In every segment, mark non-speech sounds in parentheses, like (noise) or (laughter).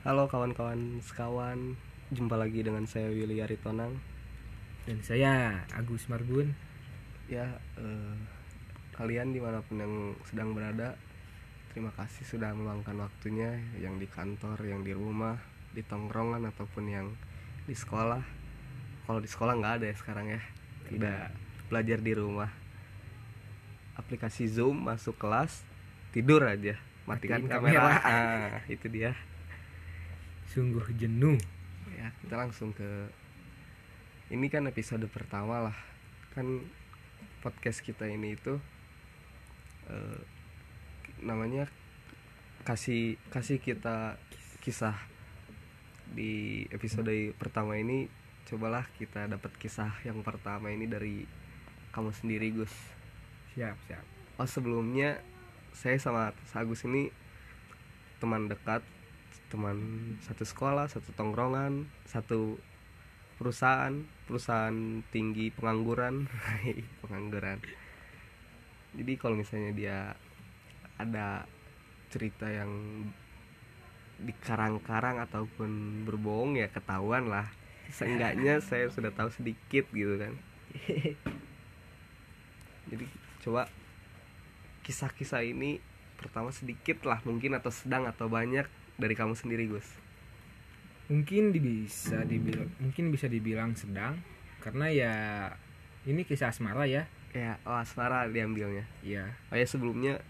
Halo kawan-kawan sekawan, jumpa lagi dengan saya Willy Aritonang. dan saya Agus Marbun Ya, eh, kalian dimanapun yang sedang berada, terima kasih sudah meluangkan waktunya yang di kantor, yang di rumah, di tongkrongan ataupun yang di sekolah. Kalau di sekolah nggak ada ya sekarang ya, tidak belajar di rumah. Aplikasi Zoom masuk kelas, tidur aja, matikan Matiin kamera. kamera. Ah, itu dia. sungguh jenuh ya kita langsung ke ini kan episode pertama lah kan podcast kita ini itu eh, namanya kasih kasih kita kisah di episode pertama ini cobalah kita dapat kisah yang pertama ini dari kamu sendiri Gus siap siap oh sebelumnya saya sama Agus ini teman dekat teman satu sekolah satu tongkrongan satu perusahaan perusahaan tinggi pengangguran (laughs) Hai, pengangguran jadi kalau misalnya dia ada cerita yang dikarang-karang ataupun berbohong ya ketahuan lah seenggaknya saya sudah tahu sedikit gitu kan jadi coba kisah-kisah ini pertama sedikit lah mungkin atau sedang atau banyak dari kamu sendiri Gus mungkin di- bisa dibilang mungkin bisa dibilang sedang karena ya ini kisah asmara ya ya oh asmara diambilnya ya oh ya sebelumnya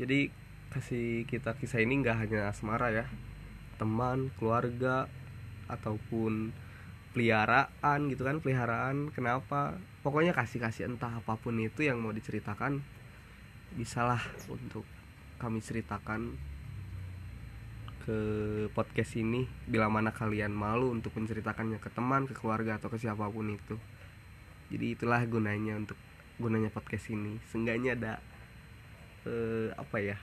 jadi kasih kita kisah ini nggak hanya asmara ya teman keluarga ataupun peliharaan gitu kan peliharaan kenapa pokoknya kasih kasih entah apapun itu yang mau diceritakan bisalah untuk kami ceritakan ke podcast ini bila mana kalian malu untuk menceritakannya ke teman ke keluarga atau ke siapapun itu jadi itulah gunanya untuk gunanya podcast ini seenggaknya ada eh, apa ya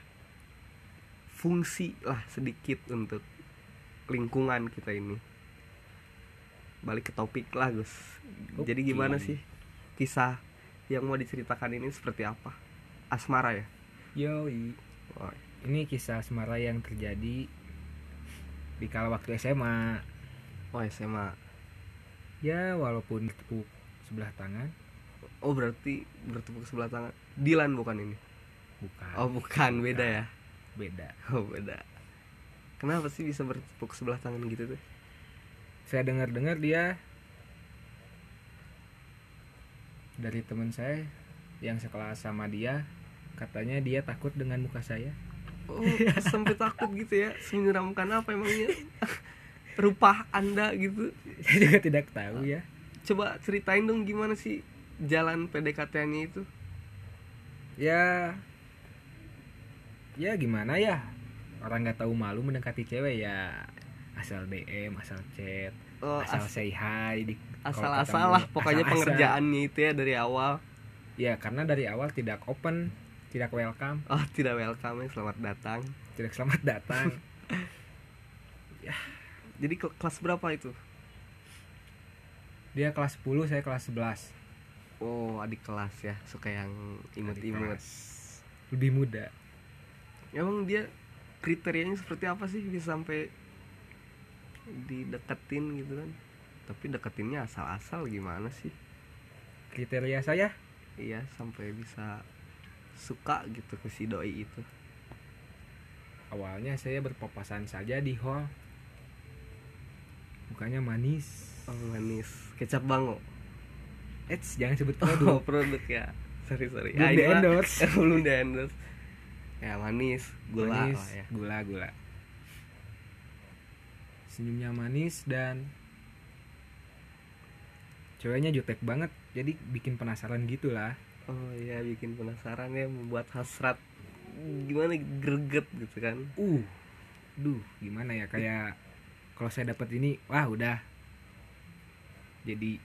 fungsi lah sedikit untuk lingkungan kita ini balik ke topik lah Gus jadi Oke. gimana sih kisah yang mau diceritakan ini seperti apa asmara ya yoi Wah, ini kisah asmara yang terjadi di kala waktu SMA oh SMA ya walaupun tepuk sebelah tangan oh berarti bertepuk sebelah tangan Dilan bukan ini bukan oh bukan beda ya beda oh beda kenapa sih bisa bertepuk sebelah tangan gitu tuh saya dengar dengar dia dari teman saya yang sekelas sama dia katanya dia takut dengan muka saya (laughs) Oh, sampai takut gitu ya menyeramkan apa emangnya rupa anda gitu saya juga tidak tahu ya coba ceritain dong gimana sih jalan PDKT-nya itu ya ya gimana ya orang nggak tahu malu mendekati cewek ya asal DM asal chat Oh, asal as- say hi di- kalau asal-asal ketemu, lah pokoknya asal-asal. pengerjaannya itu ya dari awal ya karena dari awal tidak open tidak welcome oh tidak welcome ya selamat datang tidak selamat (laughs) datang jadi ke- kelas berapa itu dia kelas 10 saya kelas 11 oh adik kelas ya suka yang imut-imut lebih muda emang dia kriterianya seperti apa sih bisa sampai dideketin gitu kan tapi deketinnya asal-asal gimana sih kriteria saya iya sampai bisa suka gitu ke si doi itu awalnya saya berpapasan saja di hall mukanya manis oh manis kecap bango Eits, jangan (laughs) sebut oh (laughs) produk produk ya sorry sorry ini Belum mah- di-endorse. (laughs) belum di endorse ya manis gula manis, lah ya gula gula senyumnya manis dan ceweknya jutek banget jadi bikin penasaran gitu gitulah oh iya bikin penasaran ya membuat hasrat gimana greget gitu kan uh duh gimana ya kayak kalau saya dapat ini wah udah jadi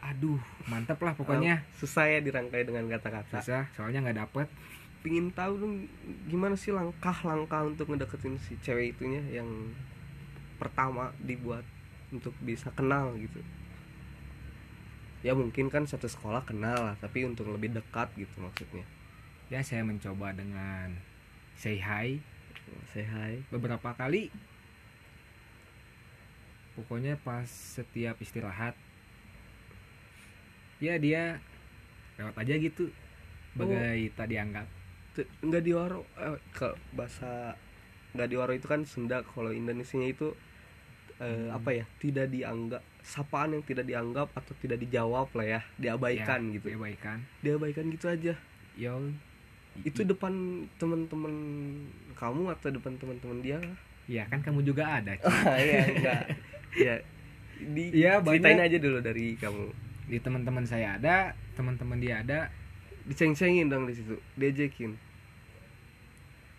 aduh mantep lah pokoknya Oh, susah ya dirangkai dengan kata-kata susah soalnya nggak dapet pingin tahu dong gimana sih langkah-langkah untuk ngedeketin si cewek itunya yang pertama dibuat untuk bisa kenal gitu ya mungkin kan satu sekolah kenal lah tapi untuk lebih dekat gitu maksudnya ya saya mencoba dengan say hi say hi beberapa kali pokoknya pas setiap istirahat ya dia lewat aja gitu bagai tak dianggap Te- nggak diwaro eh, ke bahasa nggak diwaro itu kan Sunda kalau Indonesianya itu eh, apa ya tidak dianggap sapaan yang tidak dianggap atau tidak dijawab lah ya diabaikan Ya, gitu diabaikan diabaikan gitu aja yo itu depan teman-teman kamu atau depan teman-teman dia ya kan kamu juga ada Ci. ya enggak (laughs) ya di Ah, Iya, ceritain banyak. aja dulu dari kamu di teman-teman saya ada teman-teman dia ada diceng-cengin dong di situ diajakin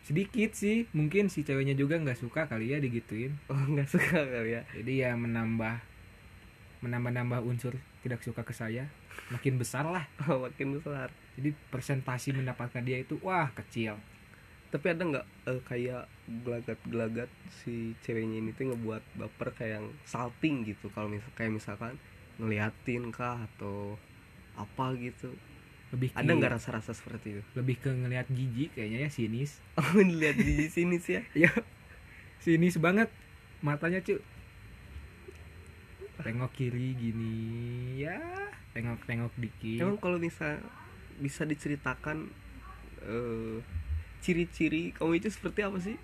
sedikit sih mungkin si ceweknya juga nggak suka kali ya digituin oh nggak suka kali ya (laughs) jadi ya menambah menambah-nambah unsur tidak suka ke saya makin besar lah oh, makin besar jadi presentasi mendapatkan dia itu wah kecil tapi ada nggak eh, kayak gelagat-gelagat si ceweknya ini tuh ngebuat baper kayak yang salting gitu kalau misal kayak misalkan ngeliatin kah atau apa gitu lebih ada nggak rasa-rasa seperti itu (laughs) lebih ke ngelihat jijik kayaknya ya sinis oh dilihat di sini sih ya ya sinis banget matanya cu tengok kiri gini ya tengok tengok dikit emang kalau misal bisa diceritakan eh, ciri-ciri kamu itu seperti apa sih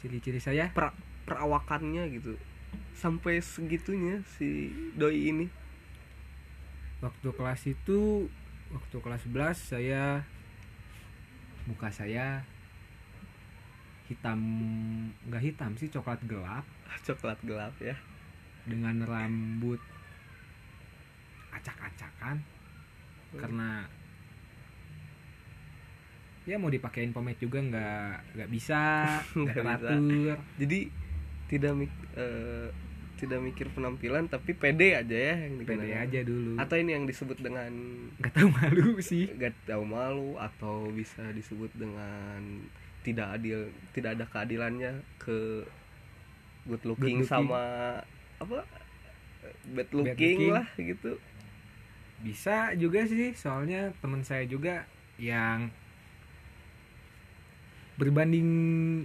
ciri-ciri saya Per- perawakannya gitu sampai segitunya si doi ini waktu kelas itu waktu kelas 11 saya muka saya hitam nggak hitam sih coklat gelap Ah, coklat gelap ya dengan rambut acak-acakan karena ya mau dipakein pomade juga nggak nggak bisa nggak Nggak bisa. teratur jadi tidak mik- eh, tidak mikir penampilan tapi pede aja ya yang pede digunakan. aja dulu atau ini yang disebut dengan nggak tahu (laughs) malu sih gak tahu malu atau bisa disebut dengan tidak adil tidak ada keadilannya ke good looking, Good looking. sama apa eh, bad looking, looking. lah gitu bisa juga sih soalnya teman saya juga yang berbanding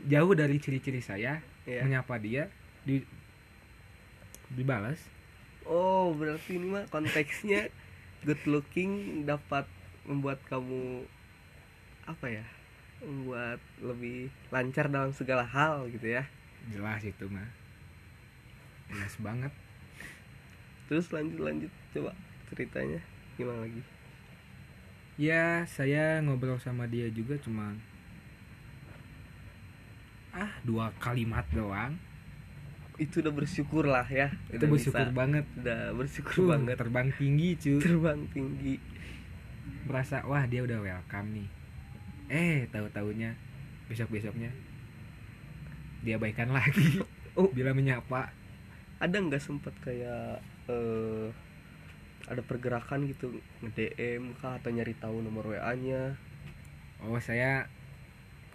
jauh dari ciri-ciri saya ya menyapa dia di dibalas oh berarti ini mah konteksnya (laughs) good looking dapat membuat kamu apa ya membuat lebih lancar dalam segala hal gitu ya jelas itu mah jelas banget terus lanjut lanjut coba ceritanya gimana lagi ya saya ngobrol sama dia juga cuma ah dua kalimat doang itu udah bersyukur lah ya itu Udah bersyukur bisa- (laughs) banget udah bersyukur Cuh, banget terbang tinggi cu terbang tinggi merasa wah dia udah welcome nih eh tahu taunya besok besoknya dia baikan lagi (laughs) Oh. bila menyapa ada nggak sempat kayak eh ada pergerakan gitu nge DM kah atau nyari tahu nomor WA nya oh saya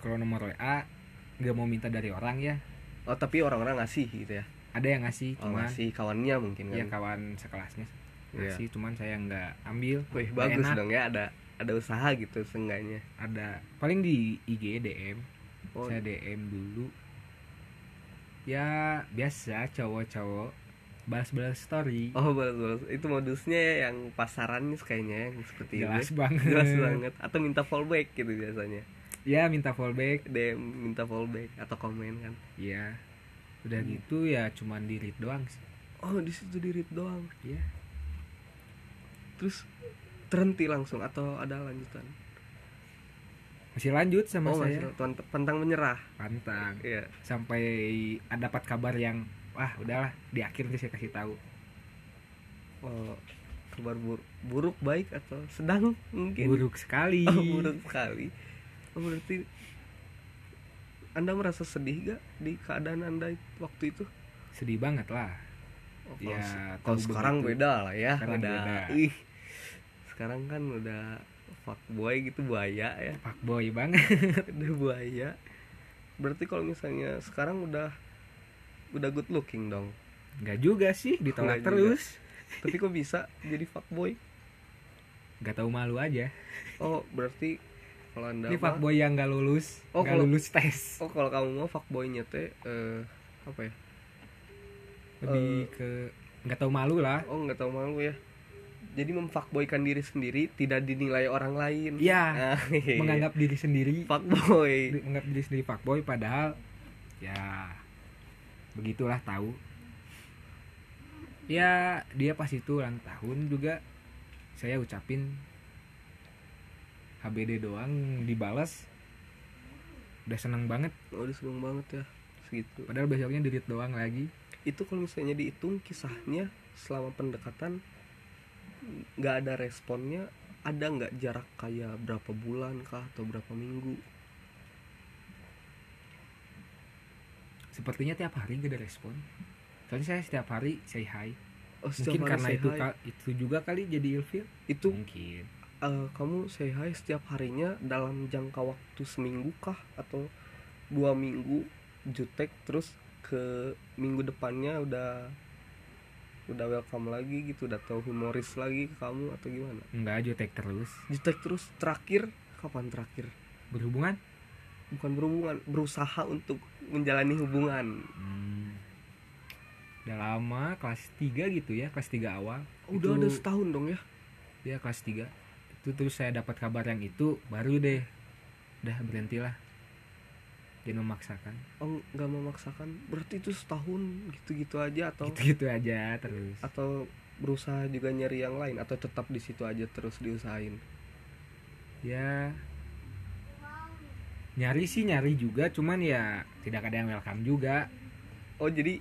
kalau nomor wa nggak mau minta dari orang ya oh tapi orang-orang ngasih gitu ya ada yang ngasih oh, cuman ngasih kawannya mungkin kan ya kawan sekelasnya Iya. ngasih cuman saya nggak ambil Wih, Nggak bagus enak. dong ya ada ada usaha gitu seenggaknya ada paling di IG DM oh, saya DM dulu ya biasa cowok-cowok balas-balas story oh balas balas itu modusnya ya yang pasaran kayaknya yang seperti ini jelas banget iya. (laughs) jelas banget atau minta fallback gitu biasanya ya minta fallback DM minta fallback atau komen kan ya udah Hmm. gitu ya cuman di read doang sih oh di situ di read doang ya terus terhenti langsung atau ada lanjutan masih lanjut sama oh saya Nah. masih tuan pantang menyerah pantang Iya. sampai ada dapat kabar yang wah udahlah di akhir saya kasih tahu oh kabar bur- buruk baik atau sedang mungkin buruk sekali oh, buruk sekali oh, berarti anda merasa sedih gak di keadaan anda waktu itu sedih banget lah oh, Ya, se- tahu kalau sekarang begitu. beda lah ya Sekarang udah beda. ih sekarang kan udah fuckboy gitu buaya ya (laughs) fuckboy banget (laughs) udah buaya berarti kalau misalnya sekarang udah udah good looking dong nggak juga sih Nggak ditolak juga. terus tapi kok bisa jadi fuckboy nggak tahu malu aja oh berarti kalau anda ini mah- fuckboy yang nggak lulus Oh, nggak kalau- lulus tes oh kalau kamu mau fuckboynya teh eh, apa ya lebih ke nggak tahu malu lah oh nggak tahu malu ya jadi memfuckboykan diri sendiri tidak dinilai orang lain Ah, (laughs) Iya. menganggap diri sendiri fuckboy di- menganggap diri sendiri fuckboy padahal ya begitulah tahu ya dia pas itu ulang tahun juga saya ucapin HBD doang dibalas udah seneng banget oh udah seneng banget ya segitu padahal besoknya dirit doang lagi itu kalau misalnya dihitung kisahnya selama pendekatan nggak ada responnya ada nggak jarak kayak berapa bulan kah atau berapa minggu sepertinya tiap hari gak ada respon soalnya saya setiap hari say hi oh, mungkin setiap hari karena say itu hi. ka- itu juga kali jadi ilfil itu mungkin eh, kamu say hi setiap harinya dalam jangka waktu seminggu kah atau dua minggu jutek terus ke minggu depannya udah udah welcome lagi gitu udah tahu humoris lagi ke kamu atau gimana nggak jutek terus jutek terus terakhir kapan terakhir berhubungan bukan berhubungan berusaha untuk menjalani hubungan Hmm. Udah lama kelas 3 gitu ya, kelas 3 awal. udah Itu- ada setahun dong ya ya kelas 3. Itu terus saya dapat kabar yang itu baru deh. Udah berhentilah. Jangan memaksakan. oh nggak memaksakan berarti itu setahun gitu-gitu aja atau Gitu-gitu aja terus. atau berusaha juga nyari yang lain atau tetap di situ aja terus diusahain Ya nyari sih nyari juga cuman ya tidak ada yang welcome juga oh jadi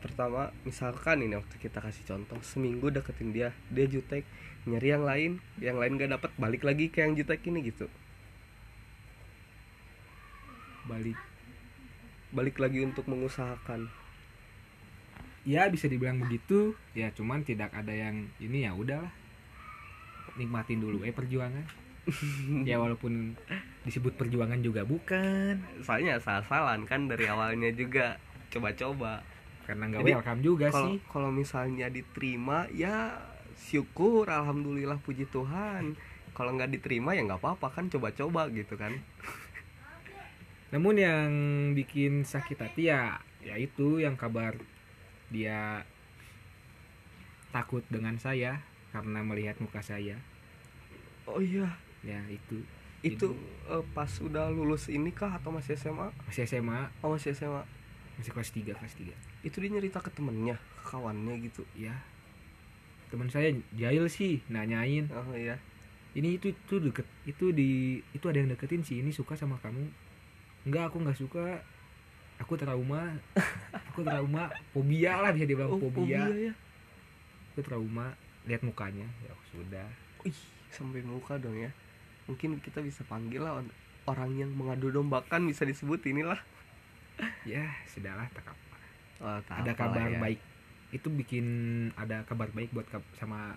pertama misalkan ini waktu kita kasih contoh seminggu deketin dia dia jutek nyari yang lain yang lain gak dapat balik lagi ke yang jutek ini gitu balik balik lagi untuk mengusahakan ya bisa dibilang begitu ya cuman tidak ada yang ini ya udahlah nikmatin dulu eh (laughs) perjuangan ya walaupun disebut perjuangan juga bukan soalnya salah-salan kan dari awalnya juga coba-coba karena nggak Jadi, welcome juga kalau sih kalau misalnya diterima ya syukur alhamdulillah puji Tuhan kalau nggak diterima ya nggak apa-apa kan coba-coba gitu kan namun yang bikin sakit hati ya yaitu yang kabar dia takut dengan saya karena melihat muka saya oh iya ya itu itu eh, pas udah lulus ini kah atau masih SMA masih SMA oh, masih SMA masih kelas 3 kelas 3 itu dia nyerita ke temennya ke kawannya gitu ya teman saya jahil sih nanyain oh iya ini itu itu deket itu di itu ada yang deketin sih ini suka sama kamu enggak aku nggak suka aku (laughs) trauma aku trauma fobia lah bisa dibilang oh fobia. fobia ya aku trauma lihat mukanya ya sudah Ih, sampai muka dong ya mungkin kita bisa panggil lah on- orang yang mengadu dombakan bisa disebut inilah ya sudahlah tak apa Oh, tak ada apalah kabar ya. baik itu bikin ada kabar baik buat kab- sama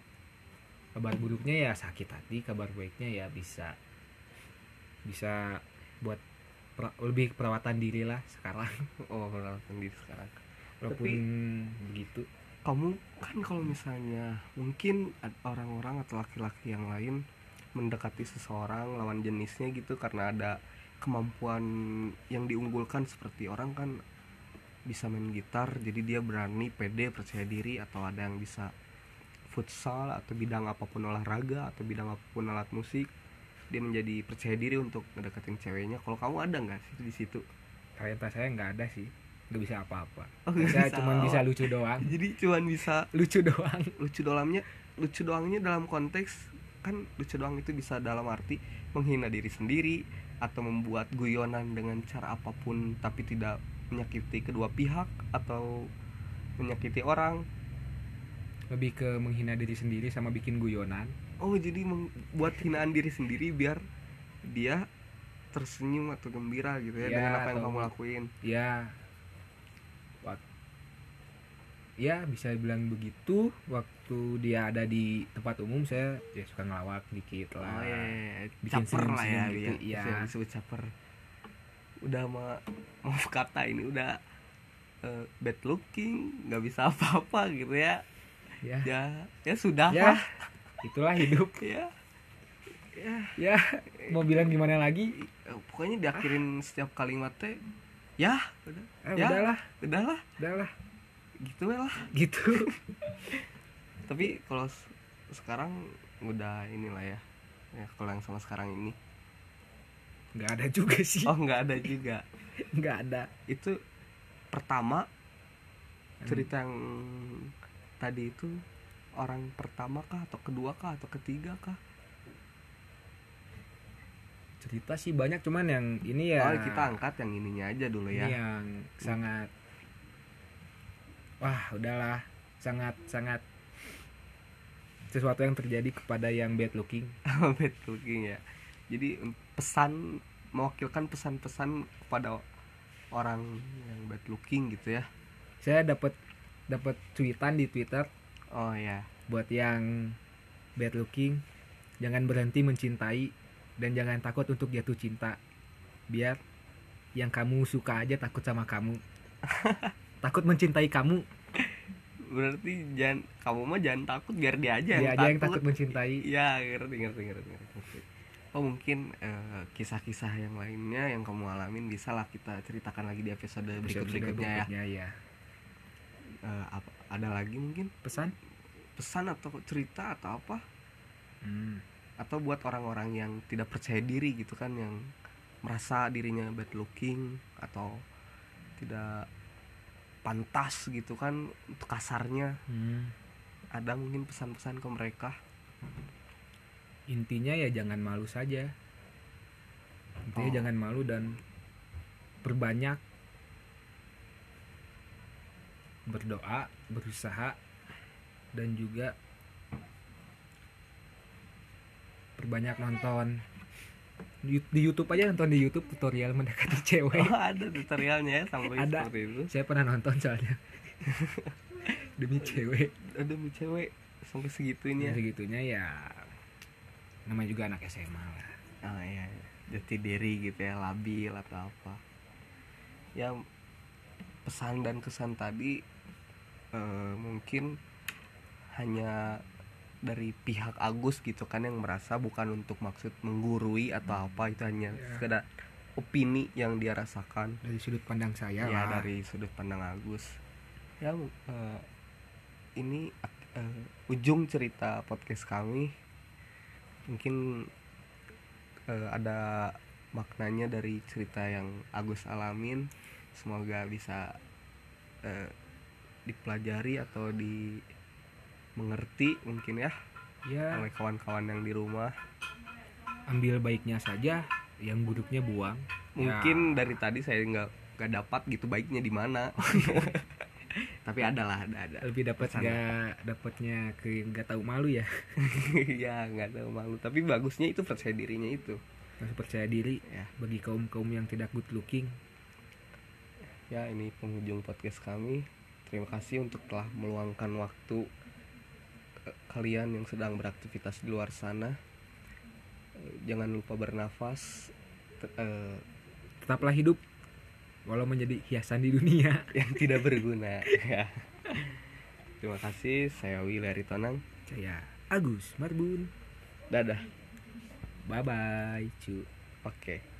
kabar buruknya ya sakit hati kabar baiknya ya bisa bisa buat pra- lebih perawatan diri lah sekarang oh langsung di sekarang walaupun begitu kamu kan kalau misalnya mungkin ad- orang-orang atau laki-laki yang lain mendekati seseorang lawan jenisnya gitu karena ada kemampuan yang diunggulkan seperti orang kan bisa main gitar jadi dia berani pede percaya diri atau ada yang bisa futsal atau bidang apapun olahraga atau bidang apapun alat musik dia menjadi percaya diri untuk ngedeketin ceweknya kalau kamu ada nggak sih di situ talenta saya nggak ada sih nggak bisa apa-apa Oh, nggak saya bisa. cuma bisa lucu doang (laughs) jadi cuman bisa lucu doang lucu dalamnya lucu doangnya dalam konteks kan lucu doang itu bisa dalam arti menghina diri sendiri atau membuat guyonan dengan cara apapun tapi tidak menyakiti kedua pihak atau menyakiti orang lebih ke menghina diri sendiri sama bikin guyonan oh jadi membuat hinaan diri sendiri biar dia tersenyum atau gembira gitu ya, Ya, dengan apa yang atau- kamu lakuin ya wak- ya bisa bilang begitu waktu dia ada di tempat umum saya ya suka ngelawak dikit lah oh ya, bikin caper lah ya senyum-senyum gitu, dia iya. Bisa disebut caper udah ma maaf kata ini udah eh, bad looking nggak bisa apa-apa gitu ya ya ya ya sudah ya lah itulah hidup ya ya ya mau bilang gimana lagi eh, pokoknya diakhirin setiap kalimatnya ya udah eh, ya udahlah udahlah udahlah gitu lah gitu tapi kalau s- sekarang udah inilah ya ya kalau yang sama sekarang ini nggak ada juga sih oh nggak ada juga nggak ada itu pertama cerita yang tadi itu orang pertama kah atau kedua kah atau ketiga kah cerita sih banyak cuman yang ini ya Oh, kita angkat yang ininya aja dulu ini ya (laughs) yang sangat wah udahlah sangat sangat sesuatu yang terjadi kepada yang bad looking bad looking ya jadi pesan mewakilkan pesan-pesan kepada orang yang bad looking gitu ya saya dapat dapat cuitan di twitter oh iya. ya buat yang bad looking jangan berhenti mencintai dan jangan takut untuk jatuh cinta biar yang kamu suka aja takut sama (laughs) kamu takut mencintai kamu berarti jangan kamu mah jangan takut biar dia aja Iya, yang dia aja takut, yang takut mencintai ya ngerti ngerti ngerti ngerti, ngerti. oh mungkin eh, kisah-kisah yang lainnya yang kamu alamin bisa lah kita ceritakan lagi di episode berikut berikutnya ya Berikutnya ya Eh, apa, ada lagi mungkin pesan pesan atau cerita atau apa Hmm. atau buat orang-orang yang tidak percaya diri gitu kan yang merasa dirinya bad looking atau tidak pantas gitu kan untuk kasarnya Hmm. ada mungkin pesan-pesan ke (laughs) mereka intinya ya jangan malu saja intinya Oh. jangan malu dan perbanyak berdoa berusaha dan juga perbanyak nonton di di YouTube aja nonton di YouTube tutorial mendekati (laughs) cewek oh, ada tutorialnya ya sampai Ada. seperti itu saya pernah nonton soalnya (laughs) demi cewek ada mi cewek sampai segitunya ya. segitunya ya namanya juga anak SMA lah ah iya, iya. jati diri gitu ya labil atau apa ya pesan dan kesan tadi eh, mungkin hanya dari pihak Agus gitu kan yang merasa bukan untuk maksud menggurui atau apa itu hanya Iya. sekedar opini yang dia rasakan dari sudut pandang saya ya, lah. dari sudut pandang Agus ya eh, ini eh, ujung cerita podcast kami mungkin eh, ada maknanya dari cerita yang Agus alamin semoga bisa eh, dipelajari atau di mengerti mungkin ya ya oleh kawan-kawan yang di rumah ambil baiknya saja yang buruknya buang mungkin dari tadi saya nggak nggak dapat gitu baiknya di mana (laughs) tapi ada lah ada ada Ya, lebih dapat Pesan. nggak dapatnya ke nggak tahu malu ya ya nggak tahu malu tapi bagusnya itu percaya dirinya itu harus percaya diri Ya. bagi kaum kaum yang tidak good looking ya ini penghujung podcast kami terima kasih untuk telah meluangkan waktu eh, kalian yang sedang beraktivitas di luar sana Eh, jangan lupa bernafas Te- eh, tetaplah hidup walau menjadi hiasan di dunia yang tidak berguna (laughs) ya terima kasih saya Willy Tonang saya Agus Marbun dadah bye bye cu oke